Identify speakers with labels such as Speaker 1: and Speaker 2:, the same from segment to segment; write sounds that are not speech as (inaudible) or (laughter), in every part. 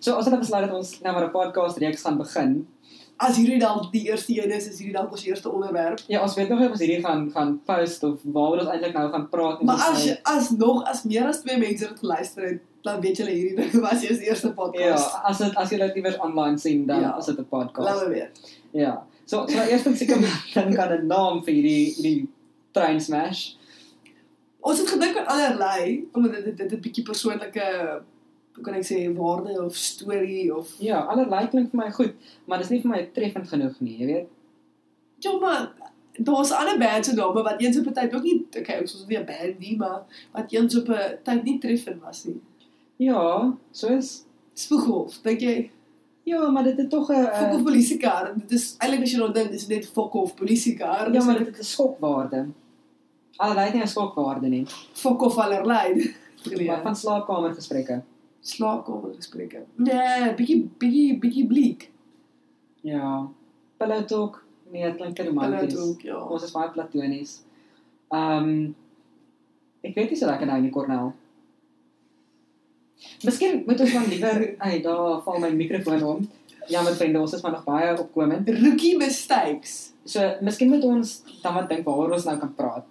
Speaker 1: het nou besluit dat ons nou maar 'n podcast reeks gaan begin.
Speaker 2: As hierdie dan die eerste een is, is hierdie dan ons eerste onderwerp.
Speaker 1: Ja, ons weet nog nie of ons hierdie gaan gaan post of waaroor ons eintlik nou gaan praat nie.
Speaker 2: Maar
Speaker 1: Ons
Speaker 2: as
Speaker 1: sê-
Speaker 2: jy- as nog as meer as twee mense dit geluister het, dan weet julle hierdie ding was eers die eerste
Speaker 1: ja,
Speaker 2: podcast.
Speaker 1: as dit as jy dit iewers online sien dan
Speaker 2: Ja.
Speaker 1: is dit 'n
Speaker 2: Laat
Speaker 1: podcast.
Speaker 2: my weet.
Speaker 1: Ja. So so eers moet
Speaker 2: (laughs)
Speaker 1: seker dink aan 'n naam vir hierdie hierdie train smash.
Speaker 2: Ons het gedink aan allerlei omdat dit dit- dit 'n bietjie persoonlike hoe kan ek sê waarde of storie of
Speaker 1: Ja, allerlei klink vir my goed, maar dis nie vir my treffend genoeg nie, jy weet.
Speaker 2: Ja, maar daar's ander bands en name wat eens op 'n tyd ook nie okay, ons was nie 'n band nie, maar wat eens op 'n tyd nie treffend was nie.
Speaker 1: Ja, soos
Speaker 2: Spoeghof, dink jy?
Speaker 1: Ja, maar dit is tog 'n
Speaker 2: Fok
Speaker 1: uh,
Speaker 2: of polisiekar, dit is eintlik as jy nou dink, dis net fok of polisiekar.
Speaker 1: ja, maar dit is 'n skokwaarde. Allerlei het nie 'n skokwaarde nie.
Speaker 2: fok of (laughs) allerlei. Ja.
Speaker 1: Maar van slaapkamergesprekke.
Speaker 2: slaapkamer gesprekke. Nee, bietjie bietjie bietjie bleek.
Speaker 1: Ja. Pillow talk, nee, dit klink te
Speaker 2: Hulle het
Speaker 1: romanties.
Speaker 2: ook ja.
Speaker 1: Ons is baie platonies. Ehm um, ek weet nie so lekker nou in die Cornell. Miskien moet ons dan liewer,
Speaker 2: (laughs)
Speaker 1: ai, daar val my mikrofoon om. Ja, my vriende, ons is maar nog baie opkomend.
Speaker 2: Rookie mistakes.
Speaker 1: So, miskien moet ons dan wat dink waaroor ons nou kan praat.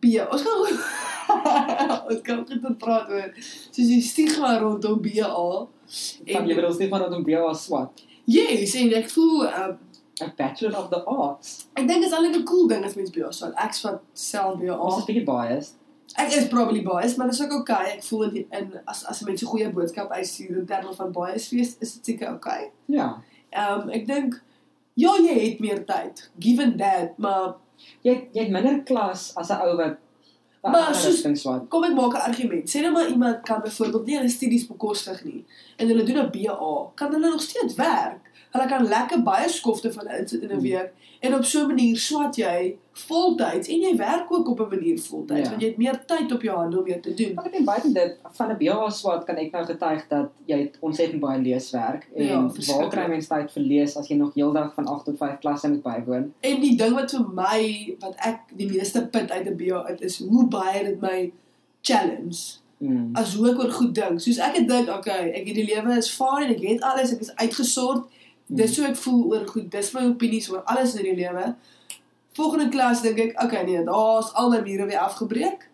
Speaker 2: B. Ons kan (laughs) ons kan ook net praat oor soos die stigma rondom BA.
Speaker 1: Van
Speaker 2: En-
Speaker 1: jy wil ons nie van dat om BA swat.
Speaker 2: Yes, en ek voel um,
Speaker 1: 'n Bachelor of the Arts.
Speaker 2: ek dink is al 'n cool ding as mens by ons sal. Ek swat self by
Speaker 1: Ons is
Speaker 2: ons.
Speaker 1: bietjie biased.
Speaker 2: Ek is probably biased, maar dis ook okay. Ek voel in, in as as mense goeie boodskap uitstuur in terme van bias wees, is dit seker okay.
Speaker 1: Ja.
Speaker 2: Ehm um, ek dink ja, jy het meer tyd given that, maar
Speaker 1: Jy het- jy het minder klas as 'n ou wat wat
Speaker 2: Maar
Speaker 1: ander
Speaker 2: soos-
Speaker 1: rigting swat.
Speaker 2: kom ek maak 'n argument. Sê nou maar iemand kan byvoorbeeld nie hulle studies bekostig nie en hulle doen 'n BA, kan hulle nog steeds werk. Hulle kan lekker baie skofte van hulle insit in 'n
Speaker 1: Hmm.
Speaker 2: week en op so 'n manier swat jy voltyds en jy werk ook op 'n manier voltyds
Speaker 1: Ja.
Speaker 2: want jy het meer tyd op jou hande om dit te doen.
Speaker 1: Maar ek dink buiten dit van 'n BA swaat kan ek nou getuig dat jy het ontsettend baie leeswerk en
Speaker 2: Ja,
Speaker 1: waar
Speaker 2: verskriklik.
Speaker 1: kry mens tyd vir lees as jy nog heeldag van 8 tot 5 klasse moet bywoon?
Speaker 2: En die ding wat vir my wat ek die meeste punt uit 'n BA uit is hoe baie dit my challenge
Speaker 1: Mm.
Speaker 2: as hoe ek oor goed dink. Soos ek het dink, okay, ek hierdie lewe is fine, ek het alles, ek is uitgesort. Dis
Speaker 1: Mm.
Speaker 2: hoe ek voel oor goed. Dis my opinies oor alles in die lewe. Volgende klas dink ek, okay, nee, daar's al my mure weer afgebreek.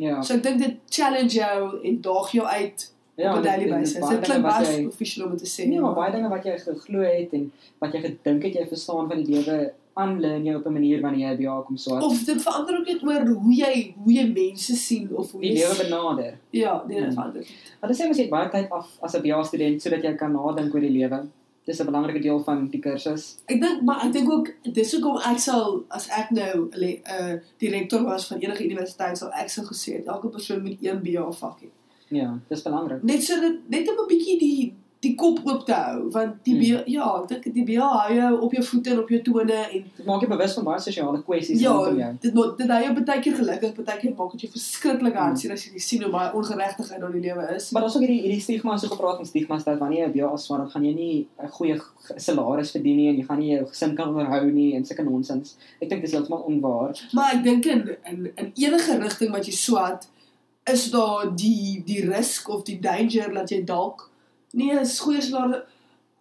Speaker 1: Ja.
Speaker 2: So ek dink dit challenge jou en daag jou uit
Speaker 1: Ja,
Speaker 2: op 'n daily
Speaker 1: dit- dit is
Speaker 2: basis.
Speaker 1: baie
Speaker 2: Dit
Speaker 1: dinge
Speaker 2: klink
Speaker 1: wat
Speaker 2: baie
Speaker 1: jy-
Speaker 2: professioneel om te sê.
Speaker 1: Nee, maar baie dinge wat jy geglo het en wat jy gedink het jy verstaan van die lewe aanleer jy op 'n manier wanneer jy 'n BA kom swaat.
Speaker 2: of dit verander ook net oor hoe jy hoe jy mense sien of hoe
Speaker 1: Die
Speaker 2: jy
Speaker 1: lewe benader.
Speaker 2: Ja, nee,
Speaker 1: Hmm.
Speaker 2: dit verander.
Speaker 1: Hulle sê mens het baie tyd af as 'n BA student sodat jy kan nadink oor die lewe. Dis 'n belangrike deel van die kursus.
Speaker 2: Ek dink maar ek dink ook dis hoekom ek sal as ek nou 'n uh, direkteur was van enige universiteit sal ek sou gesê het elke persoon moet een BA vak hê.
Speaker 1: Ja, dis belangrik.
Speaker 2: Net sodat net om 'n bietjie die die kop oop te hou want die BA, ja, ek dink die BA hou jou op jou voete en op jou tone en
Speaker 1: Dit maak jou bewus van baie sosiale kwessies rondom jou.
Speaker 2: ja, dit moet dit hou jou baie keer gelukkig, baie keer maak dit jou verskriklik hartseer as jy sien hoe baie ongeregtigheid daar in die lewe is.
Speaker 1: Maar daar's ook hierdie hierdie stigma so gepraat van stigmas dat wanneer jy 'n BA swaar dan gaan jy nie 'n goeie g- salaris verdien nie en jy gaan nie jou gesin kan onderhou nie en sulke nonsens. Ek dink dis heeltemal onwaar.
Speaker 2: Maar ek dink in in in enige rigting wat jy swat, is daar die die risk of die danger dat jy dalk nee, is goeie salaris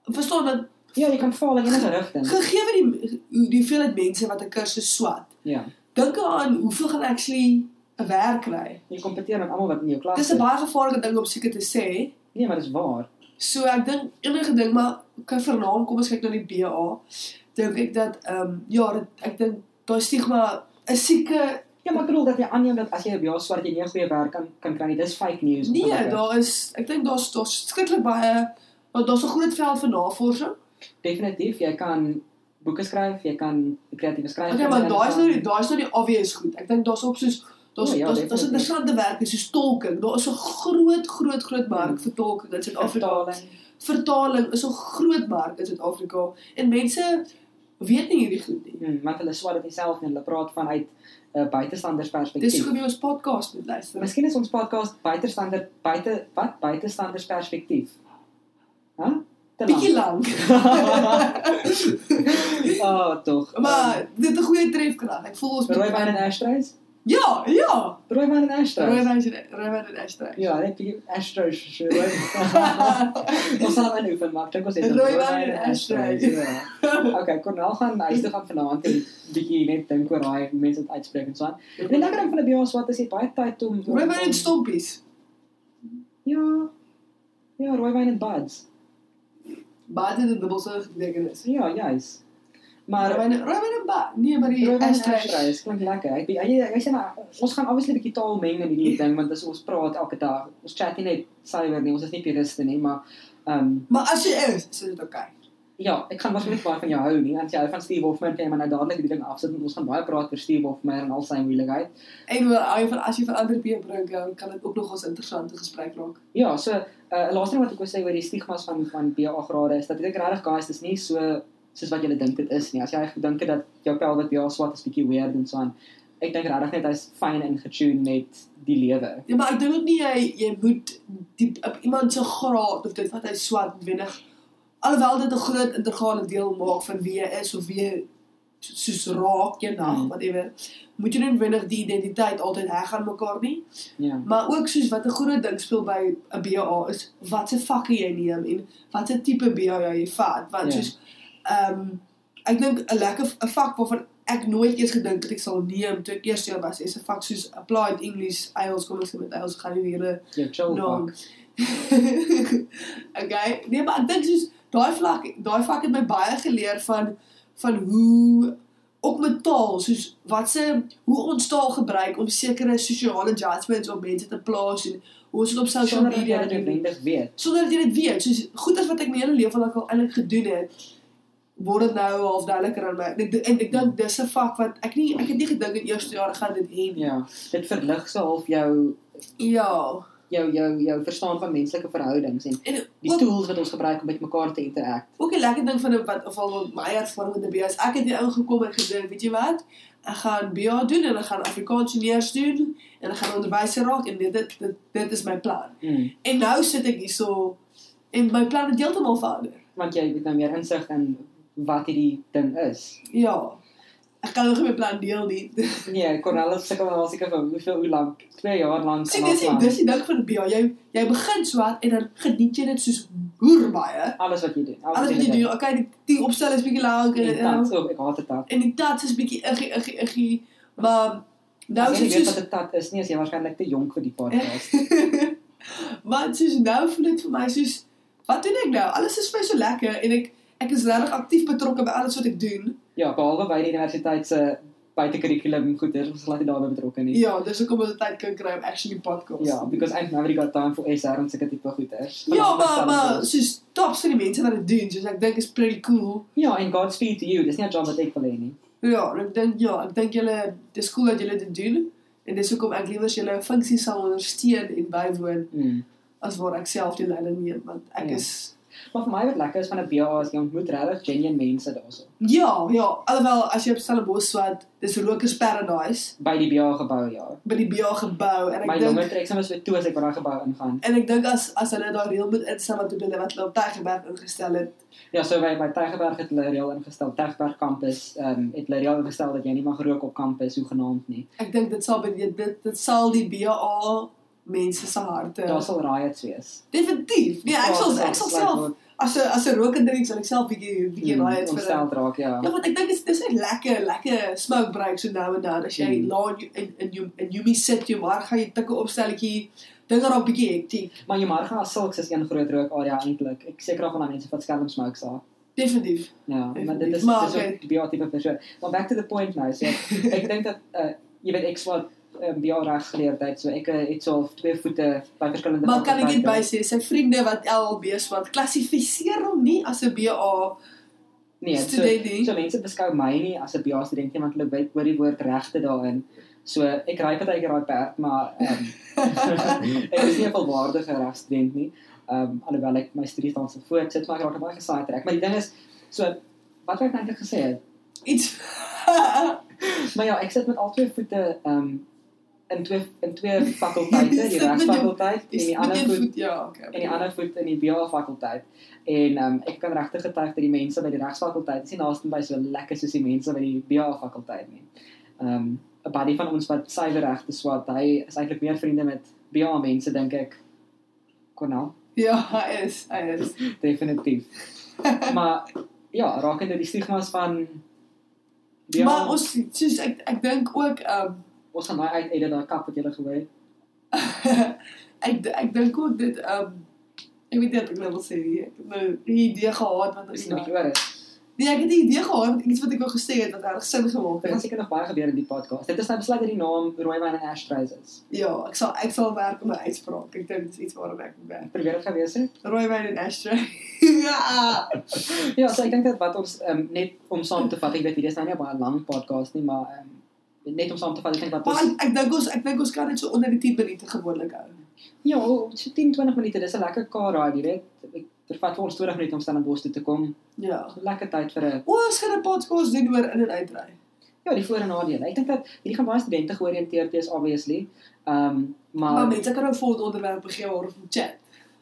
Speaker 2: verstaan dat
Speaker 1: Ja, jy kan val in enige rigting.
Speaker 2: gegee die hoe- die hoeveelheid mense wat 'n kursus swat,
Speaker 1: Ja.
Speaker 2: dink aan hoeveel gaan actually 'n werk kry.
Speaker 1: Jy kompeteer met almal wat in jou klas
Speaker 2: Dis 'n baie gevaarlike ding om seker te sê.
Speaker 1: Nee, maar dis waar.
Speaker 2: So ek dink enige ding maar kan vernaam kom ons kyk na die BA. Dink ek dat ehm um, ja, dit, ek dink daai stigma is seker
Speaker 1: Ja, maar ek bedoel dat jy aanneem dat as jy 'n BA swaar dat jy nie 'n goeie werk kan kan kry nie. Dis fake news.
Speaker 2: Nee,
Speaker 1: ongelukkig.
Speaker 2: daar is ek dink daar's daar's skrikkelik baie want daar's 'n groot veld vir navorsing.
Speaker 1: definitief jy kan boeke skryf, jy kan kreatiewe skryf.
Speaker 2: Okay, maar daai is nou die daai is nou die obvious goed. Ek dink daar's ook soos daar's
Speaker 1: ja. O, ja,
Speaker 2: daar's daar's
Speaker 1: definitief.
Speaker 2: interessante werk soos tolking. Daar is 'n groot groot groot mark vir tolking in Suid-Afrika.
Speaker 1: Hmm. vertaling.
Speaker 2: Vertaling is 'n groot mark in Suid-Afrika en mense weet nie hierdie goed nie.
Speaker 1: Hmm, want hulle swaar dit nie self nie. Hulle praat vanuit 'n uh, buitestander perspektief.
Speaker 2: Dis hoekom jy ons podcast moet luister.
Speaker 1: Miskien is ons podcast buitestander buite wat buitestanders perspektief. Hæ? Huh? Te
Speaker 2: Bietjie lank,
Speaker 1: Ah, tog. (laughs) Ah,
Speaker 2: maar dit 'n goeie trefkrag. Ek voel ons
Speaker 1: Rooi wyn en
Speaker 2: moet
Speaker 1: ashtrays?
Speaker 2: Ja, ja.
Speaker 1: Rooi maar een Astro.
Speaker 2: Roy Rijnwijn en Astra. (laughs)
Speaker 1: Ja, (laughs) net die Astro's. Rooi. Ons sal aan oefen, maar ek dink ons het
Speaker 2: Rooi
Speaker 1: rooi
Speaker 2: wijn en
Speaker 1: wijn en
Speaker 2: Ashtray.
Speaker 1: Ashtray, ja. Okay, Cornel gaan huis toe gaan vanaand en bietjie net dink oor daai mense wat uitspreek en so aan. En die lekker ding van 'n bios wat is dit baie tyd om
Speaker 2: Roy Wijn en Stompies.
Speaker 1: Ja. Ja, rooi wijn en buds.
Speaker 2: Baat in de dubbelse betekenis.
Speaker 1: Ja, juis.
Speaker 2: Ja, Maar
Speaker 1: Maar
Speaker 2: Roy Wijn en Baat. Nee, maar die
Speaker 1: rooi wijn en
Speaker 2: Astra.
Speaker 1: Ashtray klink lekker. Ek weet jy jy sê maar ons gaan obviously 'n bietjie taal meng in hierdie ding want dis ons praat elke dag. Ons chat nie net cyber nie, ons is nie puriste nie, maar ehm um,
Speaker 2: Maar als je is, is het oké.
Speaker 1: Ja, ek gaan waarskynlik baie van jou hou nie. As jy hou van Steve Hofman, kan jy maar nou dadelik die ding afsit en ons gaan baie praat oor Steve Hofman en al sy moeilikheid.
Speaker 2: En wel, hou je van- als je van andere bier drinkt, dan kan het ook nog eens een interessante gesprek raken.
Speaker 1: Ja, so 'n uh, laaste ding wat ek wou sê oor die stigmas van van BA grade is dat ek dink regtig guys, dis nie so soos wat julle dink dit is nie. As jy gedink het dat jou pel wat BA swat is bietjie weird en so aan. Ek dink regtig net hy's fyn ingetune met die lewe.
Speaker 2: Ja, maar ik denk ook niet, jij, jij moet die, op iemand zijn graad of dit wat hij zwart winnig. Alhoewel dit een groot integrale deel maakt van wie je is of wie je soos raak, je nacht,
Speaker 1: Mm.
Speaker 2: whatever. Moet je niet winnig die identiteit altijd heg aan elkaar niet.
Speaker 1: Ja.
Speaker 2: Maar ook soos wat 'n groot ding speel by 'n BA is wat se vakke jy neem en wat se tipe BA jy vat want
Speaker 1: Ja.
Speaker 2: soos ehm ek dink 'n lekker 'n vak waarvan ek nooit eers gedink het ek sal neem toe ek eerstejaar was is 'n vak soos applied English IELTS kom ons sê met IELTS gaan nie hele
Speaker 1: Jou chill
Speaker 2: lang
Speaker 1: no.
Speaker 2: (laughs) okay nee maar ek dink soos daai vlak daai vak het my baie geleer van van hoe ook met taal soos wat se hoe ons taal gebruik om sekere sosiale judgments op mense te plaas en hoe ons dit op social
Speaker 1: sonder dat jy
Speaker 2: media
Speaker 1: dit
Speaker 2: doen
Speaker 1: noodwendig weet.
Speaker 2: sonder dat jy dit weet soos goed as wat ek my hele lewe lank al eintlik gedoen het word dit nou half duideliker aan my en ek, en ek dink dis 'n vak wat ek nie ek het nie gedink in eerste jaar gaan dit hê nie
Speaker 1: Ja, dit verlig so half jou
Speaker 2: ja
Speaker 1: jou jou jou verstaan van menslike verhoudings en
Speaker 2: en
Speaker 1: die tools wat ons gebruik om met mekaar te interact.
Speaker 2: Ook 'n lekker ding van 'n wat of al my ervaring met 'n BA is, ek het hier ingekom en gedink, weet jy wat? Ek gaan BA doen en ek gaan Afrikaans juniors doen en ek gaan onderwyser raak en dit dit dit, dit is my plan.
Speaker 1: Mm.
Speaker 2: En nou sit ek hierso en my plan het heeltemal verander.
Speaker 1: want jy het nou meer insig in wat hierdie ding is.
Speaker 2: Ja. Ek kan nog nie my plan deel nie.
Speaker 1: Nee, Cornelis sukkel al seker vir hoeveel hoe lank? 2 jaar lank.
Speaker 2: (laughs) Sien
Speaker 1: en al
Speaker 2: dis die
Speaker 1: lank.
Speaker 2: dis die ding van 'n BA. Jy jy begin swart en dan geniet jy dit soos hoer baie.
Speaker 1: alles wat jy doen.
Speaker 2: Alles wat jy doen, okay, die, die opstel is bietjie lank en,
Speaker 1: En
Speaker 2: en,
Speaker 1: tat, oh, ek haat dit tat.
Speaker 2: en die tats is bietjie iggie iggie iggie, maar nou
Speaker 1: Nou
Speaker 2: is
Speaker 1: jy
Speaker 2: dit
Speaker 1: nie weet
Speaker 2: soos
Speaker 1: wat 'n tat is nie, as jy waarskynlik te jonk vir die podcast.
Speaker 2: (laughs) Maar soos nou voel dit vir my soos wat doen ek nou? Alles is vir my so lekker en ek ek is regtig aktief betrokke by alles wat ek doen.
Speaker 1: ja, behalwe by die universiteit se buitekurrikulum goeder, ons laat dit daarbey betrokke nie.
Speaker 2: Ja, dis hoekom ons tyd kan kry om actually podcast.
Speaker 1: Ja, because I've never got time for SR en seker tipe goeders.
Speaker 2: Ja,
Speaker 1: Vanaf
Speaker 2: maar
Speaker 1: bestel
Speaker 2: maar
Speaker 1: ons.
Speaker 2: soos tops vir die mense wat dit doen, soos ek dink is pretty cool.
Speaker 1: Ja, en Godspeed to you. Dis nie 'n job wat ek wil hê nie.
Speaker 2: Ja, en ek dink ja, ek dink julle dis cool dat julle dit doen en dis hoekom ek liewer julle funksie sal ondersteun en bywoon
Speaker 1: Mm.
Speaker 2: as waar ek self die leiding neem want ek
Speaker 1: Ja.
Speaker 2: ja. is
Speaker 1: Maar vir my wat lekker is van 'n BA is jy ontmoet regtig genuine mense daarso.
Speaker 2: ja, ja, alhoewel as jy op Stellenbosch swat, dis Rokers Paradise
Speaker 1: By die BA gebou, ja.
Speaker 2: by die BA gebou en
Speaker 1: My
Speaker 2: ek dink
Speaker 1: longe trek soms weer toe as ek by daai gebou ingaan.
Speaker 2: En ek dink as as hulle daai reël moet instel wat hulle wat hulle op Tygerberg ingestel het.
Speaker 1: Ja, so by by Tygerberg het hulle reël ingestel, Tygerberg kampus, ehm um, het hulle reël ingestel dat jy nie mag rook op kampus hoegenaamd nie.
Speaker 2: Ek dink dit sal by dit dit, dit sal die BA mense se harte.
Speaker 1: Daar sal riots wees.
Speaker 2: Definitief. Nee, ek sal ek sal self as 'n as 'n roker drink sal ek self bietjie bietjie
Speaker 1: Mm,
Speaker 2: raai het vir.
Speaker 1: stel
Speaker 2: hulle.
Speaker 1: draak, Hmm, ja.
Speaker 2: Ja, want ek dink dit is dis 'n lekker lekker smoke break so nou en dan as jy
Speaker 1: Mm.
Speaker 2: laat in in jou in jou sit jou maar gaan jy tikke opstelletjie dinge raak bietjie hektiek.
Speaker 1: Maar Jamarga as sulks is een groot rookarea eintlik. Ek seker af van daai mense wat skelm smokes daar.
Speaker 2: Definitief.
Speaker 1: Ja, maar dit is
Speaker 2: Maar,
Speaker 1: dis
Speaker 2: oké.
Speaker 1: ook die biotipe persoon. Maar back to the point nou, so ek dink dat uh, jy weet ek swat um, BA reg geleer het, so ek uh, het so half twee voete by verskillende
Speaker 2: Maar kan ek net by
Speaker 1: fakulteite.
Speaker 2: sê sy vriende wat LLB swat klassifiseer hom nie as 'n BA
Speaker 1: Nee, so
Speaker 2: student nie.
Speaker 1: So mense beskou my nie as 'n BA student nie want hulle weet hoor die woord regte daarin. So ek ry baie keer daai perd, maar
Speaker 2: (laughs)
Speaker 1: um, ek is nie 'n volwaardige regstudent nie. Ehm um, alhoewel ek my studies tans al voortsit, maar ek raak baie gesaai trek. Maar die ding is so wat wou ek nou eintlik gesê het. (laughs)
Speaker 2: iets
Speaker 1: Maar ja, ek sit met al twee voete ehm um, in twee in
Speaker 2: (laughs)
Speaker 1: twee fakulteite,
Speaker 2: Jy
Speaker 1: die
Speaker 2: sit met jou-
Speaker 1: regsfakulteit en
Speaker 2: Is
Speaker 1: die
Speaker 2: met
Speaker 1: ander
Speaker 2: een
Speaker 1: voet
Speaker 2: voet ja, okay.
Speaker 1: en die ander voet in die BA fakulteit. En ehm um, ek kan regtig getuig dat die mense by die regsfakulteit is nie naaste by so lekker soos die mense by die BA fakulteit nie. Ehm um, 'n buddy van ons wat syberregte swat. Hy is eintlik meer vriende met BA mense dink ek. Cornel,
Speaker 2: Ja, hy is, hy is. (laughs)
Speaker 1: definitief. maar ja, rakende die stigmas van BA,
Speaker 2: Maar ons soos ek ek dink ook ehm (laughs)
Speaker 1: ons gaan daai uit edit daai kap wat jy gewy het.
Speaker 2: ek ek dink ook dit ehm ek weet nie wat ek nou wil sê nie. Ek het nou die idee gehad want
Speaker 1: Dis
Speaker 2: ek
Speaker 1: nog oor is.
Speaker 2: Nee, ek het die idee gehad want iets wat ek wou gesê het wat erg sin gemaak
Speaker 1: Dit gaan
Speaker 2: het.
Speaker 1: seker nog baie gebeur in die podcast. Dit is nou besluit dat die naam Rooiwyn en Ashtrays is.
Speaker 2: Ja, ek sal ek sal werk op my uitspraak. Ek dink dit is iets waarop ek moet werk.
Speaker 1: Probeer dit gewees het.
Speaker 2: Rooi wyn en ashtray. (laughs) ja.
Speaker 1: Ja, so ek dink dat wat ons um, net om saam te vat, ek weet hierdie is nou nie 'n baie lang podcast nie, maar um, net om saam te vat, ek dink dat
Speaker 2: Maar
Speaker 1: ons
Speaker 2: ek dink ons ek dink ons kan dit so onder die 10 minute gewoonlik hou.
Speaker 1: ja, o, so 10, 20 minute, dis 'n lekker car ride, jy weet. Ek vervat vir ons 20 minute om Stellenbosch toe te kom.
Speaker 2: Ja.
Speaker 1: Lekker tyd vir 'n
Speaker 2: O, ons gaan 'n podcast doen oor in en uitry.
Speaker 1: ja, die voor en nadele. Ek dink dat hierdie gaan baie studente georiënteerd wees obviously. Ehm um, maar,
Speaker 2: Maar mense kan nou vir ons onderwerpe gee of chat.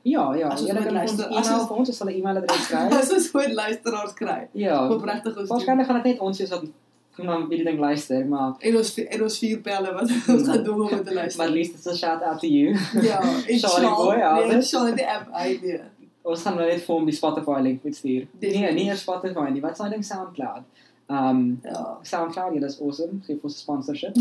Speaker 1: ja, ja,
Speaker 2: as ons
Speaker 1: julle
Speaker 2: moet
Speaker 1: kan vir ons
Speaker 2: luister, as
Speaker 1: e-mail
Speaker 2: ons-
Speaker 1: vir ons, ons sal 'n e-mailadres
Speaker 2: (laughs)
Speaker 1: kry.
Speaker 2: As ons ooit luisteraars kry.
Speaker 1: ja.
Speaker 2: Opregtig ons doen.
Speaker 1: Waarskynlik gaan dit net ons wees wat gaan hierdie ding luister, maar
Speaker 2: En ons en ons vier pelle wat (laughs) ons gaan doen om te
Speaker 1: Maar
Speaker 2: luister.
Speaker 1: at least it's a shout out to you.
Speaker 2: Ja,
Speaker 1: (laughs)
Speaker 2: en
Speaker 1: Sorry, boy, ja. Albert.
Speaker 2: Nee, sorry die app nee. idee.
Speaker 1: Ons gaan nou net vir hom die Spotify link moet stuur.
Speaker 2: Dit-
Speaker 1: Nee, nie eers Spotify nie. Wat s'n ding SoundCloud? Um
Speaker 2: Ja.
Speaker 1: SoundCloud, julle is awesome. Geef ons sponsorship.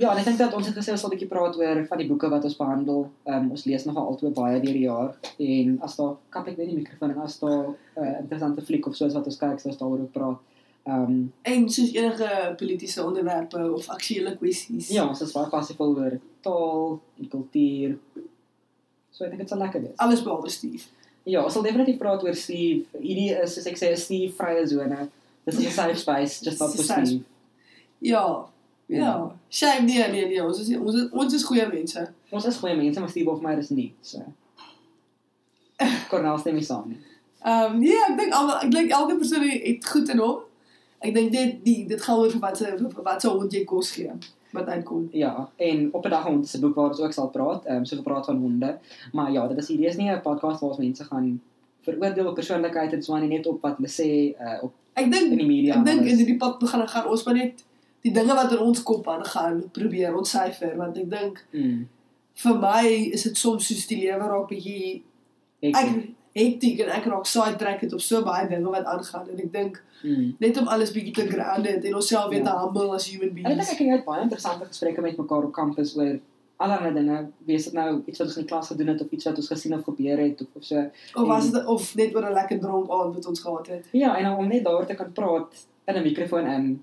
Speaker 1: ja, en ek dink dat ons het gesê ons sal 'n bietjie praat oor van die boeke wat ons behandel. Um ons lees nogal altyd baie deur die jaar en as daar kap ek net die mikrofoon en as daar 'n uh, interessante fliek of soos wat ons kyk, sal ons daaroor ook praat. Um
Speaker 2: En soos enige politieke onderwerpe of aktuele kwessies.
Speaker 1: ja, ons is baie passievol oor taal en kultuur. So ek dink dit sal lekker wees.
Speaker 2: Alles behalwe Steve.
Speaker 1: Ja, ons sal definitief praat oor Steve. Hierdie is soos ek sê 'n Steve vrye sone. Dis 'n safe space just not for
Speaker 2: Dis 'n safe
Speaker 1: Steve.
Speaker 2: Ja. Ja. Shame nee, nee, nee, ons is nie- ons is, ons is goeie mense.
Speaker 1: Ons is goeie mense, maar Steve Hofmeyer is nie. So. Cornel stem nie saam nie.
Speaker 2: Ehm nee, ek dink almal ek dink elke persoon het goed in hom. Ek dink dit die dit gaan oor vir wat se vir wat se hond jy kos gee wat uitkom.
Speaker 1: Ja, en op 'n dag gaan ons 'n boek waar ons ook sal praat, ehm so gepraat van honde. Maar ja, dit is hierdie is nie 'n podcast waar ons mense gaan veroordeel op persoonlikheid en so aan nie, net op wat hulle sê uh, op
Speaker 2: Ek
Speaker 1: in
Speaker 2: dink
Speaker 1: die media.
Speaker 2: ek
Speaker 1: en
Speaker 2: dink
Speaker 1: alles.
Speaker 2: in hierdie pad begin gaan ons maar net die dinge wat in ons kop aangaan probeer ontsyfer want ek dink
Speaker 1: mm,
Speaker 2: vir my is dit soms soos die lewe raak bietjie
Speaker 1: ek,
Speaker 2: ek
Speaker 1: ek
Speaker 2: hektiek en ek raak sidetracked op so baie dinge wat aangaan en ek dink
Speaker 1: mm.
Speaker 2: net om alles bietjie te grounded en onsself weer te
Speaker 1: Ja.
Speaker 2: humble as human
Speaker 1: En ek dink
Speaker 2: beings.
Speaker 1: ek en jy het baie interessante gesprekke met mekaar op kampus oor allerlei dinge, wees dit nou iets wat ons in die klas gedoen het of iets wat ons gesien of gebeur het of, of so.
Speaker 2: Of was dit of net oor 'n lekker dronk aand wat ons gehad het.
Speaker 1: Ja, en om net daaroor te kan praat in 'n mikrofoon in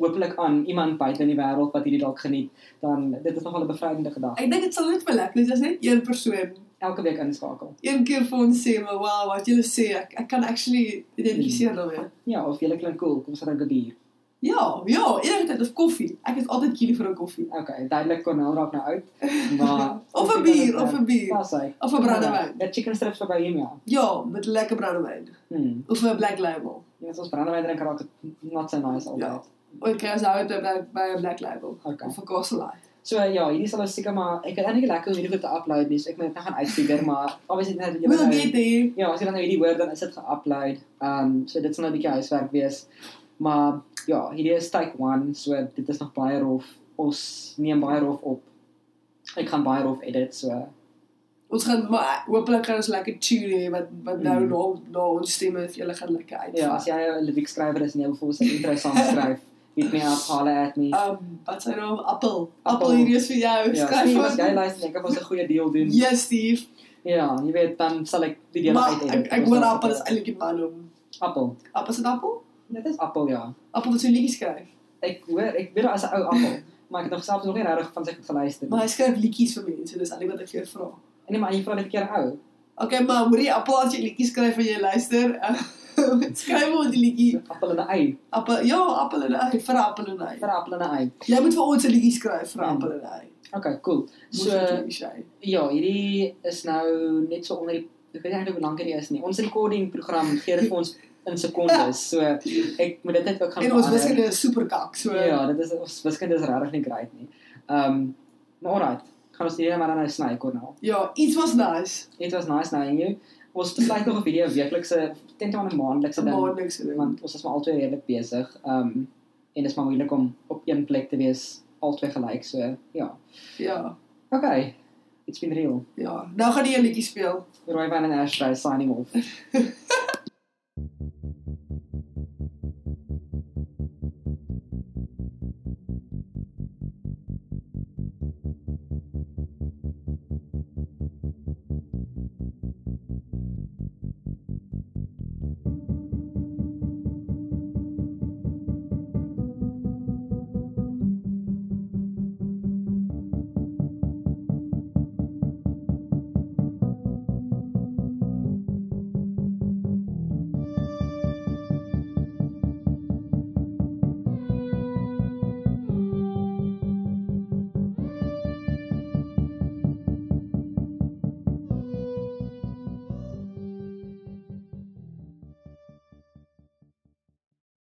Speaker 1: hopelik aan iemand buite in die wêreld wat hierdie dalk geniet, dan dit is nogal 'n bevrydende gedagte.
Speaker 2: Ek dink dit sal net vir lekker wees as net een persoon
Speaker 1: Elke week inskakel.
Speaker 2: een keer vir ons sê, maar wow, wat julle sê, ek ek kan actually identifiseer daarmee.
Speaker 1: Ja, of jy klink cool, kom ons drink 'n bier.
Speaker 2: Ja, ja, enige tyd of koffie. Ek is altyd lief vir 'n koffie.
Speaker 1: Okay, duidelik kon nou raak nou uit, maar
Speaker 2: (laughs) Of 'n bier, of 'n bier,
Speaker 1: Pas hy.
Speaker 2: of 'n brandewyn.
Speaker 1: Ja, chicken strips verby hom ja.
Speaker 2: Ja, met lekker brandewyn
Speaker 1: Hm.
Speaker 2: of 'n black label.
Speaker 1: Ja, ons brandewyn drink raak dit not so nice altyd.
Speaker 2: Ja. Ook kers hou dit by by 'n black label
Speaker 1: Okay.
Speaker 2: of 'n Castle Light.
Speaker 1: So ja, hierdie sal ons seker maar ek kan eintlik lekker om hierdie goed te upload nie, so ek moet dit nou gaan uitfigure, maar obviously net dat julle
Speaker 2: We'll
Speaker 1: nou-
Speaker 2: get there.
Speaker 1: Ja, as jy dan nou hierdie hoor dan is dit ge-upload. Ehm um, so dit sal nou 'n bietjie huiswerk wees. Maar ja, hierdie is take 1, so dit is nog baie rof. Ons neem baie rof op. Ek gaan baie rof edit, so
Speaker 2: Ons gaan maar hopelik gaan ons lekker tune hê wat wat nou
Speaker 1: Mm.
Speaker 2: na na ons stemme vir julle gaan lekker uit.
Speaker 1: ja, as jy 'n liriekskrywer is en jy wil vir ons 'n intro song (laughs) skryf, hit me up, holler at me.
Speaker 2: Um, wat sy naam? Appel.
Speaker 1: Appel.
Speaker 2: Appel hierdie is vir jou.
Speaker 1: Ja,
Speaker 2: Skryf
Speaker 1: skryf as
Speaker 2: vir
Speaker 1: jy luister, ek kan vir ons 'n goeie deal doen.
Speaker 2: Ja, Steve.
Speaker 1: Ja, jy weet dan sal ek die deel
Speaker 2: Maar
Speaker 1: uit edit.
Speaker 2: ek ek
Speaker 1: Ons
Speaker 2: hoor
Speaker 1: sal-
Speaker 2: appel is eintlik die man om.
Speaker 1: appel.
Speaker 2: Appel is 'n appel?
Speaker 1: Dit is appel, ja.
Speaker 2: Appel wat so liedjies skryf.
Speaker 1: Ek hoor, ek weet daar is 'n ou appel, (laughs) maar ek het nog self nog nie regtig van sy goed geluister
Speaker 2: Maar
Speaker 1: nie.
Speaker 2: hy skryf liedjies vir mense, dis eintlik wat ek jou vra.
Speaker 1: En nee, maar jy vra net 'n keer ou.
Speaker 2: Okay, maar hoorie appel as jy liedjies skryf en jy luister, (laughs) skryf ons die liedjie.
Speaker 1: Appel en 'n ei.
Speaker 2: Appel, ja, appel en hy vir appel en hy.
Speaker 1: Vir appel en 'n ei.
Speaker 2: Jy moet vir ons 'n liedjie skryf vir
Speaker 1: Ja.
Speaker 2: appel en hy.
Speaker 1: Okay, cool. So ja, hierdie is nou net so onder die ek weet nie eintlik hoe lank hierdie is nie. Ons recording program gee dit vir ons in sekondes. So ek moet dit net ook gaan
Speaker 2: en ons
Speaker 1: verander.
Speaker 2: wiskunde is super kak, so
Speaker 1: Ja, dit is ons wiskunde is regtig nie great nie. Ehm um, maar alright, gaan ons hierdie maar dan nou sny Cornel.
Speaker 2: ja, iets was nice.
Speaker 1: Dit was nice knowing you. Ons besluit nog op hierdie 'n weeklikse tent aan 'n maandelikse ding
Speaker 2: Maar niks.
Speaker 1: want ons is maar altyd redelik besig. Ehm um, en dit is maar moeilik om op een plek te wees albei gelyk. So ja.
Speaker 2: Ja,
Speaker 1: Okay. It's been real.
Speaker 2: ja. Nou gaan die een liedjie speel.
Speaker 1: Roy van en Ash by signing off.